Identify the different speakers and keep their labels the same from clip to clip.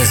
Speaker 1: Ez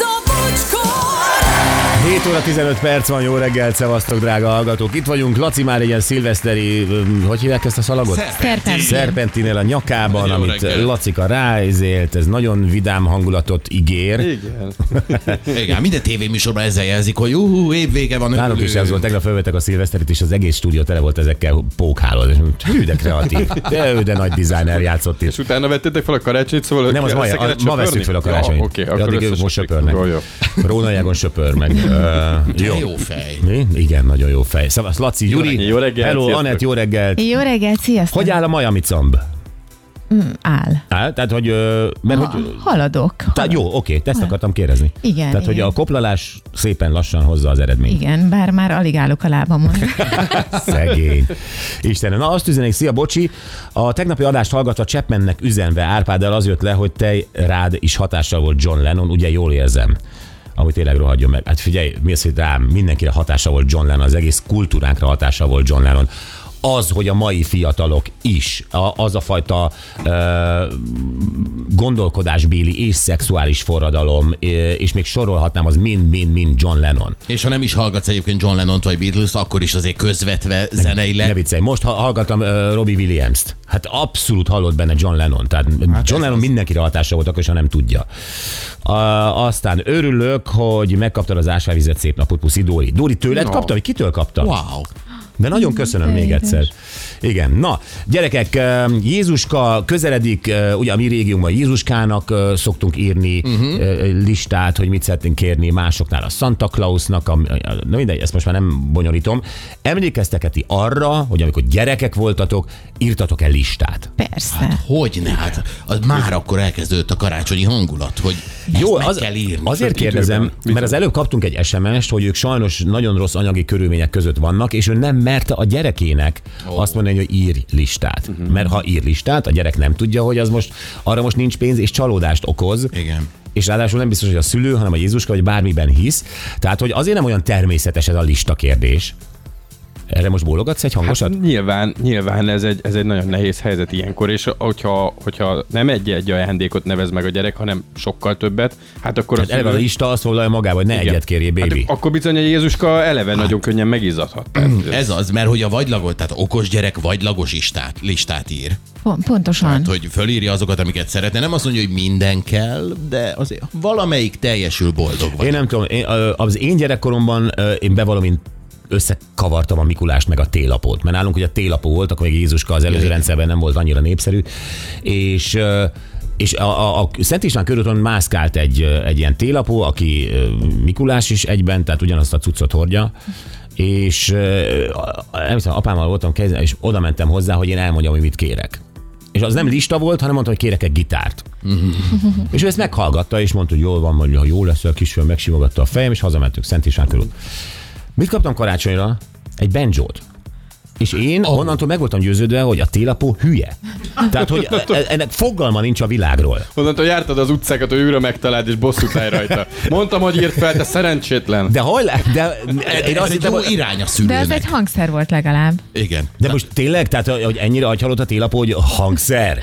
Speaker 2: a bocskor!
Speaker 3: 7 óra 15 perc van, jó reggel, szevasztok, drága hallgatók. Itt vagyunk, Laci már egy ilyen szilveszteri, öm, hogy hívják ezt a szalagot?
Speaker 4: Szerpenti.
Speaker 3: Szerpentinél a nyakában,
Speaker 4: Jó
Speaker 3: amit
Speaker 4: reggel.
Speaker 3: Lacika ráézélt, ez nagyon vidám hangulatot ígér.
Speaker 5: Igen.
Speaker 4: Igen, minden tévéműsorban ezzel jelzik, hogy juhú, évvége van.
Speaker 3: Nálunk is
Speaker 4: örülünk.
Speaker 3: ez volt, tegnap felvettek a szilveszterit, és az egész stúdió tele volt ezekkel pókhálod. És mondtam, Hű, de kreatív. De ő, de nagy dizájner játszott
Speaker 5: És
Speaker 3: itt.
Speaker 5: utána vettétek fel a karácsonyt, szóval...
Speaker 3: Nem, az
Speaker 5: össze
Speaker 3: majd,
Speaker 5: kellett
Speaker 3: a, ma
Speaker 5: söpörni?
Speaker 3: veszük fel a karácsonyt.
Speaker 5: Ja, Oké,
Speaker 3: De
Speaker 5: akkor
Speaker 3: addig ők most söpörnek.
Speaker 5: Jó, jó.
Speaker 3: Róna Jágon söpör meg. Ö,
Speaker 4: Jó.
Speaker 3: jó.
Speaker 4: jó fej.
Speaker 3: Mi? Igen, nagyon jó fej. Szavasz, Laci, Gyuri.
Speaker 5: reggelt. Jó reggelt,
Speaker 3: Hello,
Speaker 5: sziasztok.
Speaker 3: Anett, jó reggelt.
Speaker 6: Jó reggelt, sziasztok! Mm,
Speaker 3: Hogy áll a Miami comb?
Speaker 6: áll?
Speaker 3: Áll? Tehát, hogy... ö, Mert,
Speaker 6: Ha,
Speaker 3: hogy
Speaker 6: haladok.
Speaker 3: tehát jó, oké, ezt akartam kérdezni.
Speaker 6: Igen,
Speaker 3: Tehát, hogy
Speaker 6: igen.
Speaker 3: a koplalás szépen lassan hozza az eredményt.
Speaker 6: Igen, bár már alig állok a lábamon.
Speaker 3: Szegény. Istenem, na azt üzenik, szia Bocsi, a tegnapi adást hallgatva Chapmannek üzenve Árpáddal az jött le, hogy te rád is hatással volt John Lennon, ugye jól érzem amit tényleg rohadjon meg. Hát figyelj, mi az, hogy rám mindenkire hatása volt John Lennon, az egész kultúránkra hatása volt John Lennon. Az, hogy a mai fiatalok is, a, az a fajta ö, gondolkodásbéli és szexuális forradalom, ö, és még sorolhatnám, az mind-mind-mind John Lennon.
Speaker 4: És ha nem is hallgatsz egyébként John Lennon vagy Beatles, akkor is azért közvetve
Speaker 3: Ne
Speaker 4: zeneileg.
Speaker 3: viccelj, most ha- hallgattam uh, Robbie Williams-t. Hát abszolút hallott benne John Lennon. Tehát hát John Lennon mindenkire hatása volt, akkor is, ha nem tudja. Uh, aztán örülök, hogy megkaptad az ásványvizet szép napot, puszi Dóri. Dóri, tőled no. kaptam? Vagy Kitől kaptam?
Speaker 4: Wow.
Speaker 3: De nagyon köszönöm még egyszer. Igen, na, gyerekek, ö, Jézuska közeledik, ö, ugye a mi régiumban Jézuskának ö, szoktunk írni uh-huh. listát, hogy mit szeretnénk kérni másoknál, a Santa Clausnak, a, a- na mindegy, ezt most már nem bonyolítom. Emlékeztek ti arra, hogy amikor gyerekek voltatok, írtatok-e listát?
Speaker 6: Persze.
Speaker 4: Hogy ne? Hát az már akkor elkezdődött a karácsonyi hangulat, hogy Jó, ezt meg
Speaker 3: az,
Speaker 4: kell írni.
Speaker 3: azért
Speaker 5: időben.
Speaker 3: kérdezem,
Speaker 5: Mit
Speaker 3: mert az előbb kaptunk egy SMS-t, hogy ők sajnos nagyon rossz anyagi körülmények között vannak, és ő nem merte a gyerekének oh. azt mondani, hogy ír listát. Uh-huh.
Speaker 4: Mhm.
Speaker 3: Mert ha ír listát, a gyerek nem tudja, hogy az most arra most nincs pénz, és csalódást okoz.
Speaker 4: Igen.
Speaker 3: És ráadásul nem biztos, hogy a szülő, hanem a Jézuska, vagy bármiben hisz. Tehát, hogy azért nem olyan természetes ez a lista kérdés. Erre most bólogatsz egy hangosat?
Speaker 5: Hát nyilván, nyilván ez egy, ez egy nagyon nehéz helyzet ilyenkor, és hogyha, hogyha nem egy-egy ajándékot nevez meg a gyerek, hanem sokkal többet, hát akkor...
Speaker 3: Hát
Speaker 5: a
Speaker 3: eleve a
Speaker 5: szülő-
Speaker 3: lista azt foglalja magába, hogy ne
Speaker 5: Igen.
Speaker 3: egyet kérjél, baby. Hát.
Speaker 5: Hát akkor bizony a Jézuska eleve nagyon könnyen megizzadhat. Tehát
Speaker 4: Ez az, mert hogy a vagylagot, tehát okos gyerek vagylagos listát, listát ír.
Speaker 6: Pon- pontosan.
Speaker 4: Hát, hogy fölírja azokat, amiket szeretne. Nem azt mondja, hogy minden kell, de azért valamelyik teljesül boldog vagy.
Speaker 3: Én nem tudom, én, ö, az én gyerekkoromban ö, én bevallom, én összekavartam a Mikulást meg a télapót, mert nálunk ugye télapó volt, akkor még Jézuska az előző
Speaker 4: Igen.
Speaker 3: rendszerben nem volt annyira népszerű, és ö, és a, a, a Szent István körúton mászkált egy, ö, egy ilyen télapó, aki ö, Mikulás is egyben, tehát ugyanazt a cuccot hordja, és ö, a- a- nem hiszem, apámmal voltam kezdve, és oda mentem hozzá, hogy én elmondjam, hogy mit kérek. És az nem lista volt, hanem mondta, hogy kérek egy gitárt. És ő ezt meghallgatta, és mondta, hogy jól van, mondja, ha jó lesz, a kisfiam megsimogatta a fejem, és hazamentünk Szent István körül. Mit kaptam karácsonyra? Egy benjót. És én oh. onnantól meg voltam győződve, hogy a télapó hülye. Tehát, hogy e, ennek fogalma nincs a világról.
Speaker 5: Onnantól jártad az utcákat, hogy újra megtaláld, és bosszút állj rajta. Mondtam, hogy írt fel, te szerencsétlen.
Speaker 3: De hol? De, én
Speaker 4: Ez
Speaker 3: azt
Speaker 4: egy
Speaker 3: hittem,
Speaker 4: jó
Speaker 3: hogy-
Speaker 4: irány a
Speaker 6: De
Speaker 4: szülőnek.
Speaker 6: ez egy hangszer volt legalább.
Speaker 4: Igen.
Speaker 3: de most tényleg, tehát, hogy ennyire agyhalott a télapó, hogy hangszer?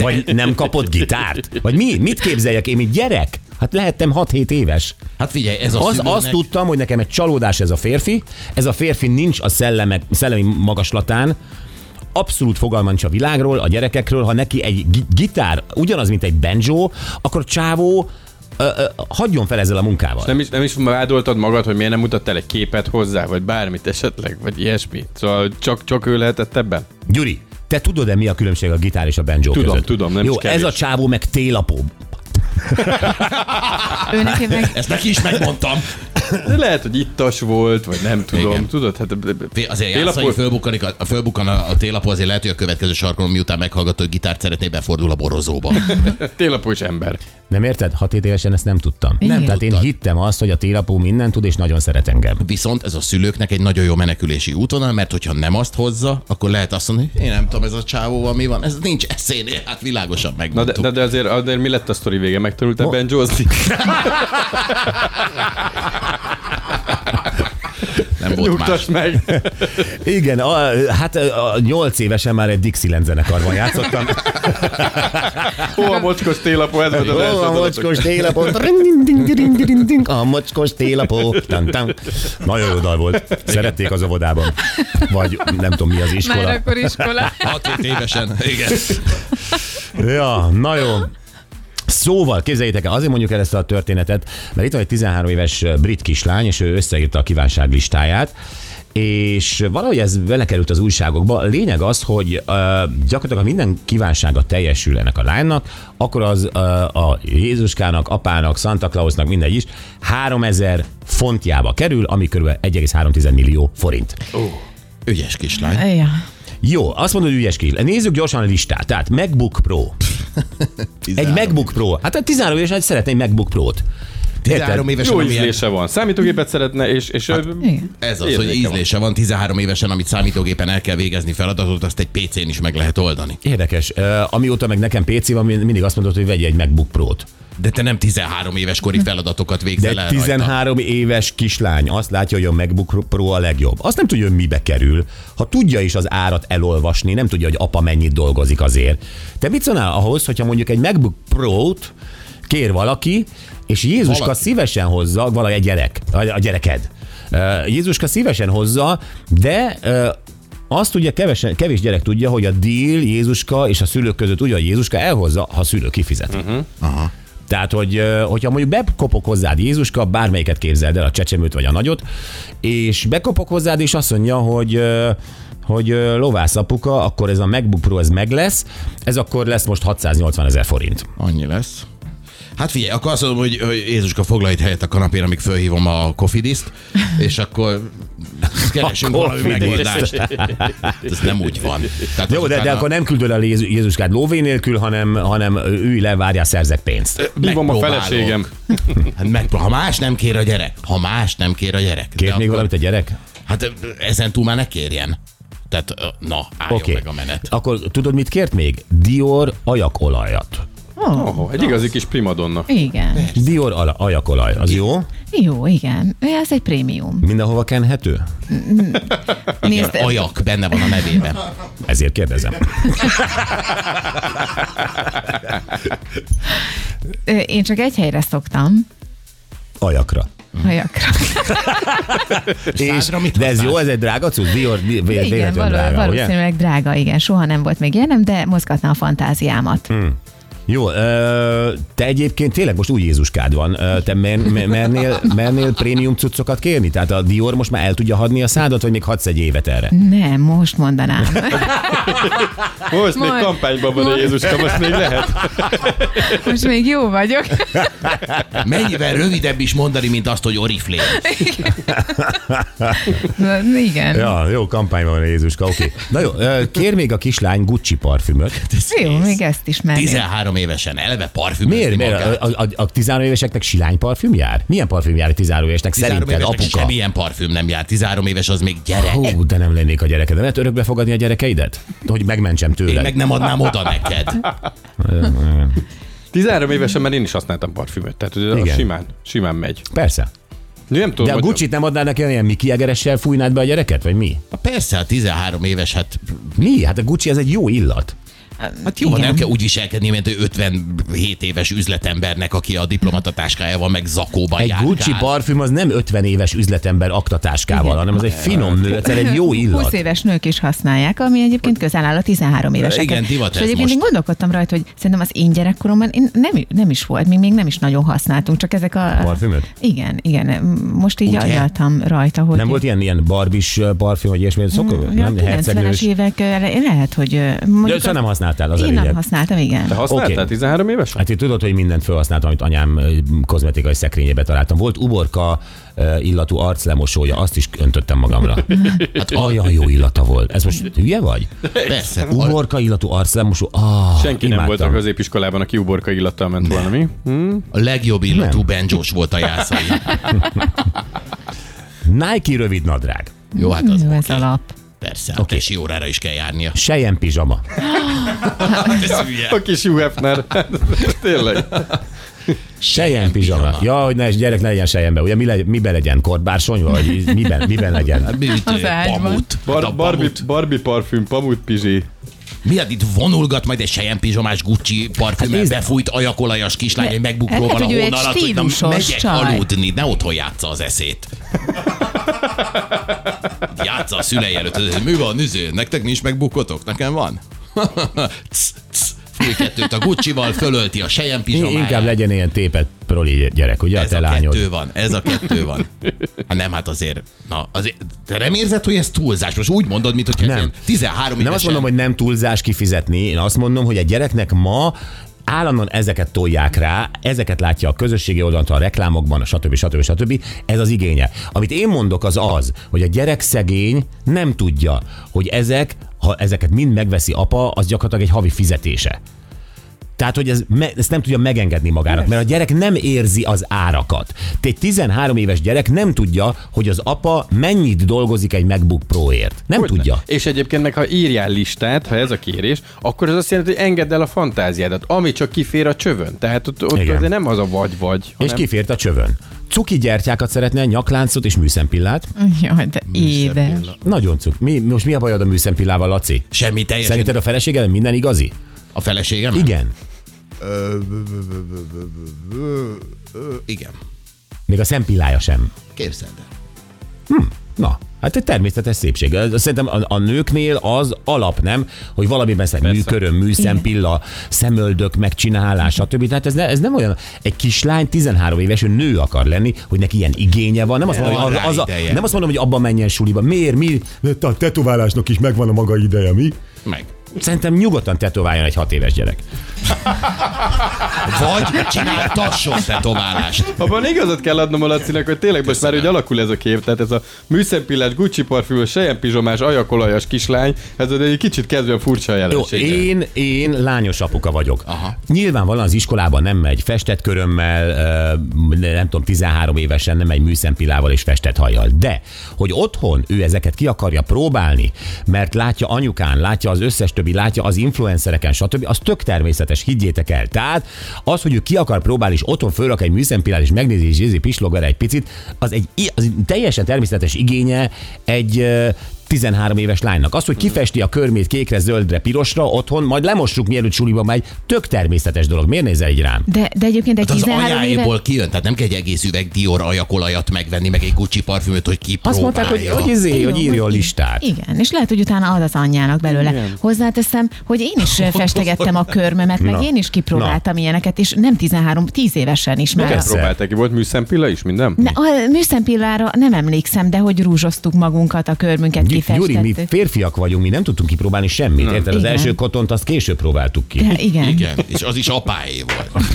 Speaker 3: Vagy nem kapott gitárt? Vagy mi? Mit képzeljek én, mint gyerek? Hát lehettem 6-7 éves.
Speaker 4: Hát figyelj, ez a
Speaker 3: Az,
Speaker 4: szülőnek...
Speaker 3: azt tudtam, hogy nekem egy csalódás ez a férfi, ez a férfi nincs a szellemek, szellemi magaslatán, abszolút fogalma nincs a világról, a gyerekekről, ha neki egy gi- gitár ugyanaz, mint egy banjo, akkor a csávó ö, ö, hagyjon fel ezzel a munkával.
Speaker 5: Nem is, nem is vádoltad magad, hogy miért nem mutattál egy képet hozzá, vagy bármit esetleg, vagy ilyesmi. Szóval csak, csak ő lehetett ebben?
Speaker 3: Gyuri, te tudod-e mi a különbség a gitár és a banjo
Speaker 5: Tudom,
Speaker 3: között?
Speaker 5: tudom, nem
Speaker 3: Jó,
Speaker 5: is kevés.
Speaker 3: ez a csávó meg télapó.
Speaker 6: Ő neki meg...
Speaker 4: Ezt neki is megmondtam.
Speaker 5: De lehet, hogy ittas volt, vagy nem tudom.
Speaker 4: Igen.
Speaker 5: Tudod, hát
Speaker 4: Té- Azért játszai fölbukkanik, a, fölbukkan a, a télapó, azért lehet, hogy a következő sarkon, miután meghallgató, hogy gitárt szeretné, befordul a borozóba.
Speaker 5: télapó is ember.
Speaker 3: Nem érted? Hat hét évesen ezt nem tudtam.
Speaker 6: Igen.
Speaker 3: Tehát én
Speaker 4: Tudtad.
Speaker 3: hittem azt, hogy a télapó mindent tud, és nagyon szeret engem.
Speaker 4: Viszont ez a szülőknek egy nagyon jó menekülési útvonal, mert hogyha nem azt hozza, akkor lehet azt mondani, hogy én nem tudom, ez a csávóval mi van, ez nincs eszénél, hát világosan
Speaker 5: Na de,
Speaker 4: megmondtuk.
Speaker 5: na de azért, azért mi lett a sztori vége? Megtanultál benjózni?
Speaker 4: Nem volt más.
Speaker 5: Nyugtass meg!
Speaker 3: Igen, a, hát a, a, nyolc évesen már egy Dixieland zenekarban játszottam.
Speaker 5: Hol a mocskos télapó, ez volt az első
Speaker 3: Ó, a
Speaker 5: dolog.
Speaker 3: mocskos télapó. Tring-ding-ding-ding-ding-ding. A mocskos télapó. Tan-tan. Nagyon jó dal volt. Szerették az óvodában. Vagy nem tudom mi az
Speaker 6: Már
Speaker 3: iskola.
Speaker 6: akkor iskola.
Speaker 4: 6 évesen, igen.
Speaker 3: Ja, na jó. Szóval, képzeljétek el, azért mondjuk el ezt a történetet, mert itt van egy 13 éves brit kislány, és ő összeírta a kívánság listáját, és valahogy ez belekerült az újságokba. Lényeg az, hogy uh, gyakorlatilag ha minden kívánsága teljesül ennek a lánynak, akkor az uh, a Jézuskának, apának, Santa Clausnak, mindegy is, 3000 fontjába kerül, ami kb. 1,3 millió forint.
Speaker 4: Ügyes kislány.
Speaker 6: Ja.
Speaker 3: Jó, azt mondod, hogy ügyes ki. Nézzük gyorsan a listát. Tehát MacBook Pro. Egy MacBook Pro. Hát a 13 évesen szeretné egy MacBook Pro-t. Érted?
Speaker 4: 13 évesen,
Speaker 5: Jó
Speaker 4: amilyen,
Speaker 5: ízlése van. Számítógépet szeretne, és, és
Speaker 4: Hát,
Speaker 6: Igen.
Speaker 4: ez az, hogy
Speaker 5: Érzéke van.
Speaker 4: ízlése van, 13 évesen, amit számítógépen el kell végezni feladatot, azt egy PC-n is meg lehet oldani.
Speaker 3: Érdekes. Ö, Amióta meg nekem PC van, min- mindig azt mondod, hogy vegyél egy MacBook Pro-t.
Speaker 4: De te nem 13 éves kori feladatokat
Speaker 3: De
Speaker 4: végzel
Speaker 3: egy
Speaker 4: el
Speaker 3: 13 éves kislány azt látja, hogy a MacBook Pro a legjobb. Azt nem tudja, hogy mibe kerül. Ha tudja is az árat elolvasni, nem tudja, hogy apa mennyit dolgozik azért. Te mit szólnál ahhoz, hogyha mondjuk egy MacBook Pro-t kér valaki, és Jézuska
Speaker 4: Valaki.
Speaker 3: szívesen hozza, valahogy egy gyerek, a a gyereked. Ö, Jézuska szívesen hozza, de ö, azt ugye kevesen, kevés gyerek tudja, hogy a deal Jézuska és a szülők között ugye Jézuska elhozza, ha a szülő kifizet. Uh-huh.
Speaker 4: Aha.
Speaker 3: Tehát, hogy, ö, hogyha mondjuk bekopok hozzád Jézuska, bármelyiket képzeld el, a csecsemőt vagy a nagyot, és bekopok hozzád, és azt mondja, hogy ö, hogy ö, lovász apuka, akkor ez a MacBook Pro ez meg lesz, ez akkor lesz most 680 ezer forint.
Speaker 4: Annyi lesz. Hát figyelj, akkor azt mondom, hogy, hogy Jézuska foglalj itt helyet a kanapén, amíg fölhívom a kofidiszt, és akkor keresünk
Speaker 3: A
Speaker 4: valami
Speaker 3: kofidiszt.
Speaker 4: megoldást. Hát Ez nem úgy van. Tehát
Speaker 3: Jó, de, de
Speaker 4: utána
Speaker 3: akkor nem küldöd el Jézu- Jézuskát lóvé nélkül, hanem, hanem ülj le, várjál, szerzek pénzt.
Speaker 5: Hívom a
Speaker 4: megpróbálok.
Speaker 5: feleségem.
Speaker 4: Hát meg, ha más nem kér a gyerek, ha más nem kér a gyerek. de
Speaker 3: Kért még
Speaker 4: akkor-
Speaker 3: valamit a gyerek?
Speaker 4: Hát ö, ezen túl már ne kérjen. Tehát ö, na, álljon
Speaker 3: Oké.
Speaker 4: okay. meg a menet.
Speaker 3: Akkor tudod, mit kért még? Dior ajakolajat.
Speaker 6: Ó,
Speaker 5: Oh, egy igazi kis primadonna.
Speaker 6: igen.
Speaker 3: Dior ala- ajakolaj, az jó?
Speaker 6: Jó, igen. Ez egy prémium.
Speaker 3: Mindenhova kenhető?
Speaker 6: Nézd,
Speaker 4: Ajak benne van a nevében.
Speaker 3: Ezért kérdezem.
Speaker 6: ö, én csak egy helyre szoktam.
Speaker 3: Ajakra.
Speaker 4: Mhm.
Speaker 6: Hajakra.
Speaker 3: És,
Speaker 4: Szádra mit
Speaker 3: de ez
Speaker 4: használsz?
Speaker 3: jó, ez egy drága cucc? Dior, di- vé-
Speaker 6: Igen,
Speaker 3: véletlenül
Speaker 6: való,
Speaker 3: drága, ugye?
Speaker 6: valószínűleg drága, igen. Soha nem volt még ilyenem, de mozgatná a fantáziámat.
Speaker 4: Mhm.
Speaker 3: Jó, ö, te egyébként tényleg most új Jézuskád van. Ö, Te mer- mer- mernél, mernél prémium cuccokat kérni? Tehát a Dior most már el tudja hadni a szádat, vagy még hadsz egy évet erre?
Speaker 4: Mhm.
Speaker 6: Nem, most mondanám.
Speaker 5: Most még
Speaker 6: Majd.
Speaker 5: kampányban van a
Speaker 6: Majd.
Speaker 5: Jézuska, most még lehet.
Speaker 6: Most még jó vagyok.
Speaker 4: Mennyivel rövidebb is mondani, mint azt, hogy oriflé.
Speaker 6: Na, Igen.
Speaker 3: Ja, jó kampányban van a Jézuska, oké. Okay. Na jó, ö, kér még a kislány Gucci parfümöt.
Speaker 6: Jó, még ezt is merném.
Speaker 4: 13 évesen eleve parfümözni
Speaker 3: Miért? Miért?
Speaker 4: magát.
Speaker 3: A, a, a 13 éveseknek silány parfüm jár? Milyen parfüm jár a 13 évesnek?
Speaker 4: 13
Speaker 3: Szerinted,
Speaker 4: évesnek
Speaker 3: apuka?
Speaker 4: semmilyen parfüm nem jár. 13 éves az még gyerek.
Speaker 3: Hú, de nem lennék a gyereked. Lehet örökbe fogadni a gyerekeidet? Hogy megmentsem
Speaker 4: Én
Speaker 3: tőled.
Speaker 4: meg nem adnám oda neked.
Speaker 5: 13 évesen már én is használtam parfümöt, tehát ez
Speaker 3: Igen.
Speaker 5: az simán, simán megy.
Speaker 3: Persze.
Speaker 5: Nem tudom,
Speaker 3: De a
Speaker 5: hogy-
Speaker 3: Gucci-t nem adnál neki ilyen Miki egeressel fújnád be a gyereket, vagy mi?
Speaker 4: Na Persze, a 13 éves, hát,
Speaker 3: Mi? Hát a Gucci ez egy jó illat.
Speaker 4: hát jó,
Speaker 6: Igen.
Speaker 4: nem kell úgy viselkedni, mint egy 57 éves üzletembernek, aki a diplomata táskájával meg zakóban Hát,
Speaker 3: Egy
Speaker 4: járkál.
Speaker 3: Gucci parfüm az nem 50 éves üzletember aktatáskával,
Speaker 6: Igen.
Speaker 3: hanem az egy finom nő, egyszer egy jó
Speaker 6: 20
Speaker 3: illat.
Speaker 6: éves nők is használják, ami egyébként közel áll a 13 évesek.
Speaker 4: Igen, divat
Speaker 6: És
Speaker 4: ez
Speaker 6: egyébként
Speaker 4: most.
Speaker 6: én gondolkodtam rajta, hogy szerintem az én gyerekkoromban én nem, nem is volt, még, még nem is nagyon használtunk, csak ezek a...
Speaker 3: Parfümöt?
Speaker 6: Igen, igen. Most így
Speaker 4: Ugye?
Speaker 6: agyaltam rajta, hogy...
Speaker 3: Nem volt ilyen, ilyen barbis ö, parfüm, vagy ilyesmi? Szok,
Speaker 6: Mm, Ja,
Speaker 3: nem,
Speaker 6: 90-es
Speaker 3: hercegnős.
Speaker 6: évek elején lehet, hogy... ö,
Speaker 3: De
Speaker 6: mondjuk
Speaker 3: azt nem
Speaker 6: az-
Speaker 3: használtál, az a
Speaker 6: Én nem
Speaker 3: lényeg.
Speaker 6: használtam, igen.
Speaker 5: Te használtál
Speaker 3: Oké.
Speaker 5: 13 évesen?
Speaker 3: Hát én tudod, hogy mindent felhasználtam, amit anyám ö, kozmetikai szekrényébe találtam. Volt uborka ö, illatú arclemosója, azt is öntöttem magamra. Hát olyan jó illata volt. Ez most hülye vagy?
Speaker 4: Persze, a-
Speaker 3: Uborka illatú arclemosó. Ah,
Speaker 5: Senki nem volt a középiskolában, aki uborka illattal ment volna, mi?
Speaker 4: a legjobb illatú benjós volt a jászai.
Speaker 3: Nike rövid nadrág.
Speaker 4: Jó, hát az
Speaker 6: Jó, ez
Speaker 4: oké.
Speaker 6: alap.
Speaker 4: Persze, okay. a tesi órára is kell járnia.
Speaker 3: Sejen pizsama.
Speaker 4: Hát ez hülye.
Speaker 3: Hát,
Speaker 5: A kis Hugh Hefner. Tényleg.
Speaker 3: Sejjen pizsama.
Speaker 4: pizsama.
Speaker 3: Ja, hogy ne, gyerek ne legyen sejjenbe. Ugye mi legy, miben legyen? Kortbársony? Vagy miben, miben legyen?
Speaker 4: Mi,
Speaker 6: Az ágyban.
Speaker 4: Hát, pamut. Hát a
Speaker 5: Bar- Barbie,
Speaker 4: pamut.
Speaker 5: Barbie parfüm, pamut pizsi.
Speaker 4: Mi az itt vonulgat majd egy sejem pizsomás Gucci parfümel
Speaker 3: Hát nézd- hát,
Speaker 4: befújt ajakolajas kislány, egy megbukó
Speaker 6: lehet,
Speaker 4: van a
Speaker 6: hogy ő egy
Speaker 4: hónalat, hogy na,
Speaker 6: stílusos
Speaker 4: megyek
Speaker 6: csaj.
Speaker 4: aludni, ne otthon játsza az eszét. játsza a szülei előtt, hogy mi van, izé, nektek nincs megbukotok, nekem van. Cs, cs, Fúj kettőt a Guccival, fölölti a sejem pizsomáját.
Speaker 3: Inkább legyen ilyen tépet proli gyerek, ugye a
Speaker 4: ez
Speaker 3: te
Speaker 4: a
Speaker 3: lányod.
Speaker 4: kettő van, ez a kettő van. Ha nem, hát azért, na, azért, te nem érzed, hogy ez túlzás? Most úgy mondod, mint hogy
Speaker 3: Nem.
Speaker 4: 13 évesen.
Speaker 3: Nem azt mondom, hogy nem túlzás kifizetni, én azt mondom, hogy egy gyereknek ma állandóan ezeket tolják rá, ezeket látja a közösségi oldalon, a reklámokban, stb. stb. stb. Ez az igénye. Amit én mondok az az, hogy a gyerek szegény nem tudja, hogy ezek, ha ezeket mind megveszi apa, az gyakorlatilag egy havi fizetése. Tehát, hogy ez me, ezt nem tudja megengedni magának, mert a gyerek nem érzi az árakat. Te egy 13 éves gyerek nem tudja, hogy az apa mennyit dolgozik egy MacBook Pro-ért. Nem
Speaker 5: Hogyne.
Speaker 3: tudja.
Speaker 5: És egyébként meg, ha írjál listát, ha ez a kérés, akkor ez azt jelenti, hogy engedd el a fantáziádat, ami csak kifér a csövön. Tehát ott, ott
Speaker 3: Igen.
Speaker 5: azért nem az a vagy-vagy.
Speaker 3: És
Speaker 5: hanem-
Speaker 3: kifért a csövön. Cuki gyertyákat szeretne, nyakláncot és műszempillát.
Speaker 6: Jaj, de édes.
Speaker 3: Nagyon cuk. Mi, most mi a bajod a műszempillával, Laci?
Speaker 4: Semmi teljesen.
Speaker 3: Szerinted a feleséged minden igazi?
Speaker 4: A feleségem?
Speaker 3: Igen.
Speaker 4: Igen.
Speaker 3: Még a szempillája sem.
Speaker 4: Képzeld el.
Speaker 3: Na, hát egy természetes szépség. Ez- Szerintem a, a nőknél az alap, nem? Hogy valamiben szerint műköröm, műszempilla, szemöldök megcsinálás, stb. Tehát ez, ne, ez nem olyan, egy kislány 13 éves, ő nő akar lenni, hogy neki ilyen igénye van. Nem azt, mondom,
Speaker 4: van
Speaker 3: hogy
Speaker 4: rá
Speaker 3: az, az a,
Speaker 4: ideje.
Speaker 3: nem azt mondom, hogy abban menjen suliba. Miért? Mi? A tetoválásnak is megvan a maga ideje, mi?
Speaker 4: Meg.
Speaker 3: Szerintem nyugodtan tetováljon egy hat éves gyerek.
Speaker 4: Vagy csináltasson tetoválást.
Speaker 5: Abban igazat kell adnom a Lacinak, hogy tényleg most már úgy alakul ez a kép, tehát ez a műszempillás, Gucci parfümös, sejem pizsomás, ajakolajas kislány, ez egy kicsit kezdve a furcsa a
Speaker 3: Jó,
Speaker 5: jelenség.
Speaker 3: én, én lányos apuka vagyok.
Speaker 4: Aha.
Speaker 3: Nyilvánvalóan az iskolában nem megy festett körömmel, ö, nem tudom, 13 évesen nem megy műszempilával és festett hajjal. De, hogy otthon ő ezeket ki akarja próbálni, mert látja anyukán, látja az összes többi, látja az influencereken, stb., az tök természetes, higgyétek el. Tehát az, hogy ő ki akar próbálni, és otthon fölrak egy műszempilát, és megnézi, és ízi, pislog vele egy picit, az egy, i- az egy teljesen természetes igénye egy ö, 13 éves lánynak. Az, hogy kifesti a körmét kékre, zöldre, pirosra otthon, majd lemossuk, mielőtt suliba megy, tök természetes dolog. Miért nézel így rám?
Speaker 6: De, de egyébként egy
Speaker 4: Hát az
Speaker 6: 13 éve...
Speaker 4: ajáéból kijön, tehát nem kell egy egész üveg Dior ajakolajat megvenni, meg egy Gucci parfümöt, hogy
Speaker 3: Azt
Speaker 4: kipróbálja.
Speaker 3: mondták, hogy, hogy, izé, hogy írjon listát.
Speaker 6: Igen, és lehet, hogy utána ad az anyjának belőle. Igen. Hozzáteszem, hogy én is festegettem a körmömet, meg
Speaker 3: Na.
Speaker 6: én is kipróbáltam ilyeneket, és nem 13, 10 évesen is már.
Speaker 3: persze.
Speaker 5: Próbálták ki, volt műszempilla is minden?
Speaker 6: Ne, a műszempillára nem emlékszem, de hogy rúzsoztuk magunkat, a körmünket
Speaker 3: Gy- Gyuri, mi
Speaker 6: kifestettük.
Speaker 3: férfiak vagyunk, mi nem tudtunk kipróbálni semmit. Érted? Az
Speaker 6: Igen.
Speaker 3: első kotont azt később próbáltuk ki.
Speaker 6: De igen. igen.
Speaker 4: Igen, és az is apáé volt.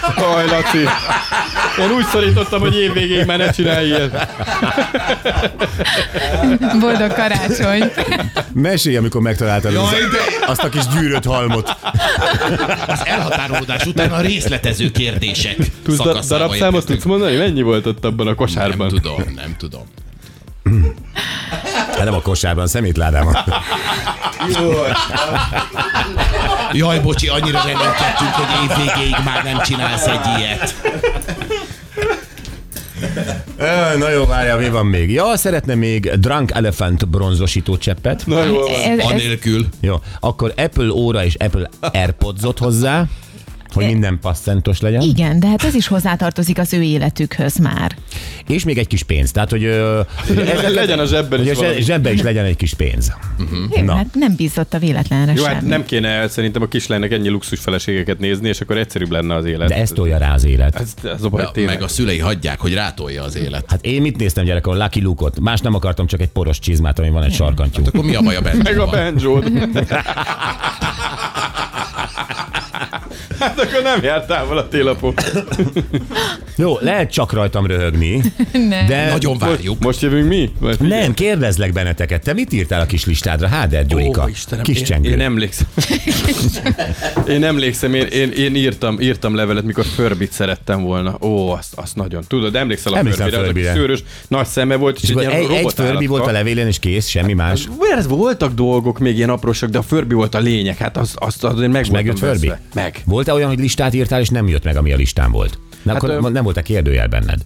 Speaker 5: Haj, Laci! Én úgy szorítottam, hogy évvégéig már ne csinálj ilyet.
Speaker 6: Boldog karácsony.
Speaker 3: Mesélj, amikor megtaláltad az, azt a kis gyűrött halmot.
Speaker 4: Az elhatárolódás után a részletező kérdések
Speaker 5: Tudsz da-
Speaker 4: szakaszába
Speaker 5: darabszámot
Speaker 4: érkeztünk.
Speaker 5: tudsz mondani? Mennyi volt ott abban a
Speaker 4: Nem
Speaker 5: kosárban?
Speaker 4: tudom, nem tudom.
Speaker 3: Hát nem a kosárban, a szemétládában.
Speaker 4: Jaj, bocsi, annyira reménykedtünk, hogy évvégéig már nem csinálsz egy ilyet.
Speaker 3: Ö, Na jó, várjál, mi van még? Ja, szeretne még Drunk Elephant bronzosító cseppet.
Speaker 5: Na jól van.
Speaker 6: Ez, ez,
Speaker 4: Anélkül.
Speaker 3: Jó, akkor Apple óra és Apple Airpodsot hozzá, hogy minden passzentos legyen.
Speaker 6: igen, de hát ez is hozzátartozik az ő életükhöz már.
Speaker 3: És még egy kis pénz. Tehát, hogy, ö, hogy ezeket-
Speaker 5: Legyen a zsebben
Speaker 3: hogy
Speaker 5: is
Speaker 3: a zse-
Speaker 5: valami. Mhm.
Speaker 3: zsebbe is legyen egy kis pénz.
Speaker 6: Na.
Speaker 3: Na.
Speaker 6: Hát nem bízott a véletlenre
Speaker 5: Jó,
Speaker 6: semmi.
Speaker 5: hát nem kéne szerintem a kislánynak ennyi luxus feleségeket nézni, és akkor egyszerűbb lenne az élet.
Speaker 3: De ezt tolja rá az élet.
Speaker 5: ez, ez a baj, tényleg.
Speaker 4: Meg a szülei hagyják, hogy rátolja az élet.
Speaker 3: Hát én mit néztem gyerekon? Lucky Luke-ot. Más nem akartam, csak egy poros csizmát, ami van egy sarkantyú.
Speaker 5: Hát
Speaker 4: Akkor mi a baj a Szóval
Speaker 5: Meg a
Speaker 4: benn?
Speaker 5: banjót. hát akkor nem jártál a télapó.
Speaker 3: Jó, lehet csak rajtam röhögni,
Speaker 6: Nem.
Speaker 3: de...
Speaker 4: Nagyon várjuk.
Speaker 5: Most jövünk mi? Vagy figyelj.
Speaker 3: Nem, kérdezlek benneteket. Te mit írtál a kis listádra? Háder Gyurika.
Speaker 4: Ó, Istenem,
Speaker 3: kis
Speaker 4: én-
Speaker 3: csengő.
Speaker 5: Én emlékszem. én emlékszem, én, én, én írtam, írtam levelet, mikor Förbit szerettem volna. Ó, azt, azt nagyon. Tudod, emlékszel a
Speaker 3: Emlékszem
Speaker 5: Förbire? Az, aki
Speaker 3: Furbyre.
Speaker 5: szőrös, nagy szeme volt, és,
Speaker 3: és akkor
Speaker 5: egy,
Speaker 3: egy,
Speaker 5: egy,
Speaker 3: egy förbi volt a levélen, és kész, semmi
Speaker 5: Hát
Speaker 3: más.
Speaker 5: ez voltak dolgok, még ilyen aprósak, de a Furby volt a lényeg. Hát azt, azt, azt én meg voltam
Speaker 3: Megjött Furby?
Speaker 5: veszve. Meg.
Speaker 3: Volt-e olyan, hogy listát írtál, és nem jött meg, ami a listán volt? Na, hát,
Speaker 5: Hát,
Speaker 3: akkor
Speaker 5: ö-
Speaker 3: nem volt a kérdőjel benned.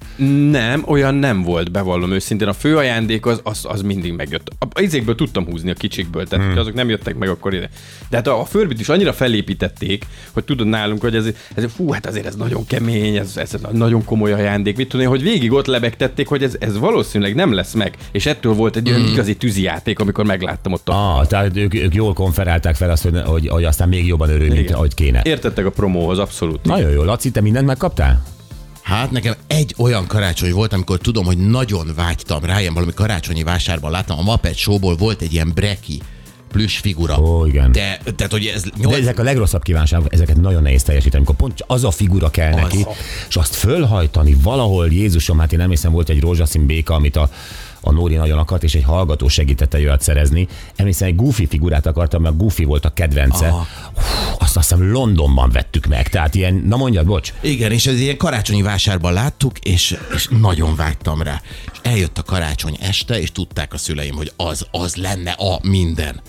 Speaker 5: Nem, olyan nem volt, bevallom őszintén. A fő ajándék az, az, az mindig megjött. A izékből tudtam húzni a kicsikből, tehát hmm. azok nem jöttek meg akkor ide. De hát a, a förbit is annyira felépítették, hogy tudod nálunk, hogy ez, ez fú, hát azért ez nagyon kemény, ez, ez egy nagyon komoly ajándék. Mit tudom én, hogy végig ott lebegtették, hogy ez, ez valószínűleg nem lesz meg. És ettől volt egy olyan
Speaker 4: Hmm.
Speaker 5: igazi tűzijáték, amikor megláttam ott a...
Speaker 3: Ah, tehát ők, ők jól konferálták fel azt, hogy, hogy, hogy aztán még jobban örülj, mint ahogy kéne.
Speaker 5: Értettek a promóhoz, abszolút.
Speaker 3: Nagyon jó, Laci, te mindent megkaptál?
Speaker 4: Hát nekem egy olyan karácsony volt, amikor tudom, hogy nagyon vágytam rá, ilyen valami karácsonyi vásárban láttam, a Muppet Showból volt egy ilyen breki plüss figura.
Speaker 3: Ó, igen.
Speaker 4: De, tehát, hogy ez
Speaker 3: De
Speaker 4: nyolc...
Speaker 3: ezek a legrosszabb kívánságok, ezeket nagyon nehéz teljesíteni, amikor pont az a figura kell
Speaker 4: Az.
Speaker 3: neki, és azt fölhajtani valahol, Jézusom, hát én emlékszem, volt egy rózsaszín béka, amit a, a Nóri nagyon akart, és egy hallgató segítette olyat szerezni. Emlékszem, egy Goofy figurát akartam, mert Goofy volt a kedvence. Hú, azt azt hiszem Londonban vettük meg, tehát ilyen, na mondjad, bocs.
Speaker 4: Igen, és ez ilyen karácsonyi vásárban láttuk, és, és nagyon vágytam rá. És eljött a karácsony este, és tudták a szüleim, hogy az, az lenne a minden.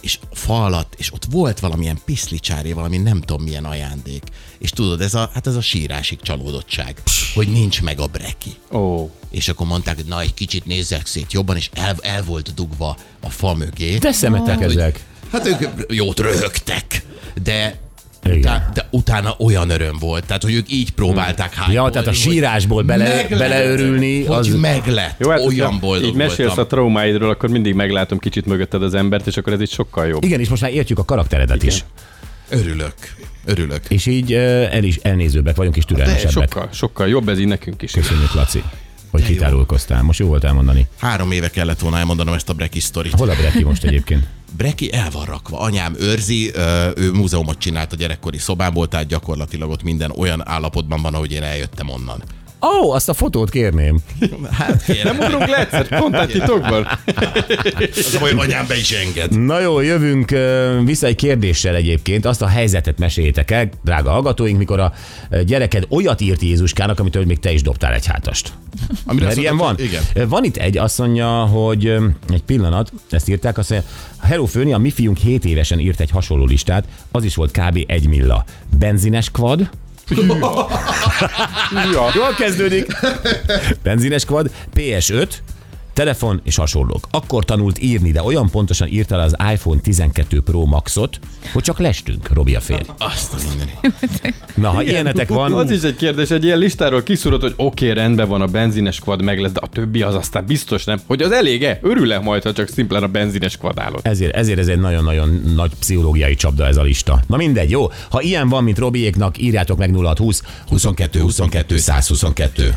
Speaker 4: És a fa alatt, és ott volt valamilyen piszlicsáré, valami nem tudom milyen ajándék. És tudod, ez a, hát ez a sírásig csalódottság, hogy nincs meg a breki.
Speaker 5: Ó, oh,
Speaker 4: És akkor mondták, hogy na, egy kicsit nézzek szét jobban, és el, el volt dugva a fa mögé.
Speaker 3: De szemetek ezek.
Speaker 4: Hát ők jót röhögtek, de,
Speaker 3: Igen.
Speaker 4: utá, de utána olyan öröm volt, tehát hogy ők így próbálták hát.
Speaker 3: Hmm. Ja, tehát a sírásból bele, beleörülni,
Speaker 4: hogy
Speaker 3: az...
Speaker 4: meg lett.
Speaker 5: jó, hát
Speaker 4: olyan
Speaker 5: hogyha
Speaker 4: boldog
Speaker 5: így mesélsz
Speaker 4: voltam.
Speaker 5: a traumáidról, akkor mindig meglátom kicsit mögötted az embert, és akkor ez így sokkal jobb.
Speaker 3: Igen, és most már értjük a karakteredet Igen. is.
Speaker 4: Örülök, örülök.
Speaker 3: És így eh, el is elnézőbbek vagyunk, és
Speaker 5: De
Speaker 3: türelmesebbek.
Speaker 5: sokkal, sokkal jobb ez így nekünk is.
Speaker 3: Köszönjük, Laci, hogy kitárulkoztál. Most jó volt elmondani.
Speaker 4: Három éve kellett volna elmondanom ezt a Breki sztorit.
Speaker 3: Hol a Breki most egyébként?
Speaker 4: Breki el van rakva. Anyám őrzi, ö, ő múzeumot csinált a gyerekkori szobából, tehát gyakorlatilag ott minden olyan állapotban van, ahogy én eljöttem onnan.
Speaker 3: Ó, oh, azt a fotót kérném.
Speaker 4: Hát kérem,
Speaker 5: Ugrunk le egyszer, pont tehát titokban.
Speaker 4: az, hogy anyám be is enged.
Speaker 3: Na jó, jövünk ö, vissza egy kérdéssel egyébként. Azt a helyzetet meséljétek el, drága hallgatóink, mikor a ö, gyereked olyat írt Jézuskának, amitől még te is dobtál egy hátast.
Speaker 4: Amire
Speaker 3: Mert
Speaker 4: azt
Speaker 3: ilyen van.
Speaker 4: mondták, Igen.
Speaker 3: Van itt egy, azt mondja, hogy ö, egy pillanat, ezt írták, azt mondja, Hello Főni, a mi fiunk 7 évesen írt egy hasonló listát, az is volt kb. egy milla. Benzines kvad,
Speaker 5: Ja.
Speaker 3: Jól kezdődik. Benzines kvad, PS5, telefon és hasonlók. Akkor tanult írni, de olyan pontosan írta le az iPhone 12 Pro Maxot, hogy csak lestünk, Robi a férj.
Speaker 4: Azt az mindenit.
Speaker 3: Na, ha ilyenetek
Speaker 5: Az
Speaker 3: van,
Speaker 5: is egy kérdés, egy ilyen listáról kiszúrod, hogy oké, okay, rendben van a benzines kvad meg lesz, de a többi az aztán biztos nem. Hogy az elége? Örül-e majd, ha csak szimplán a benzines kvad állod?
Speaker 3: ezért, ezért ez egy nagyon-nagyon nagy pszichológiai csapda ez a lista. Na mindegy, jó? Ha ilyen van, mint Robiéknak, írjátok meg 0620
Speaker 4: 22, 22, 122.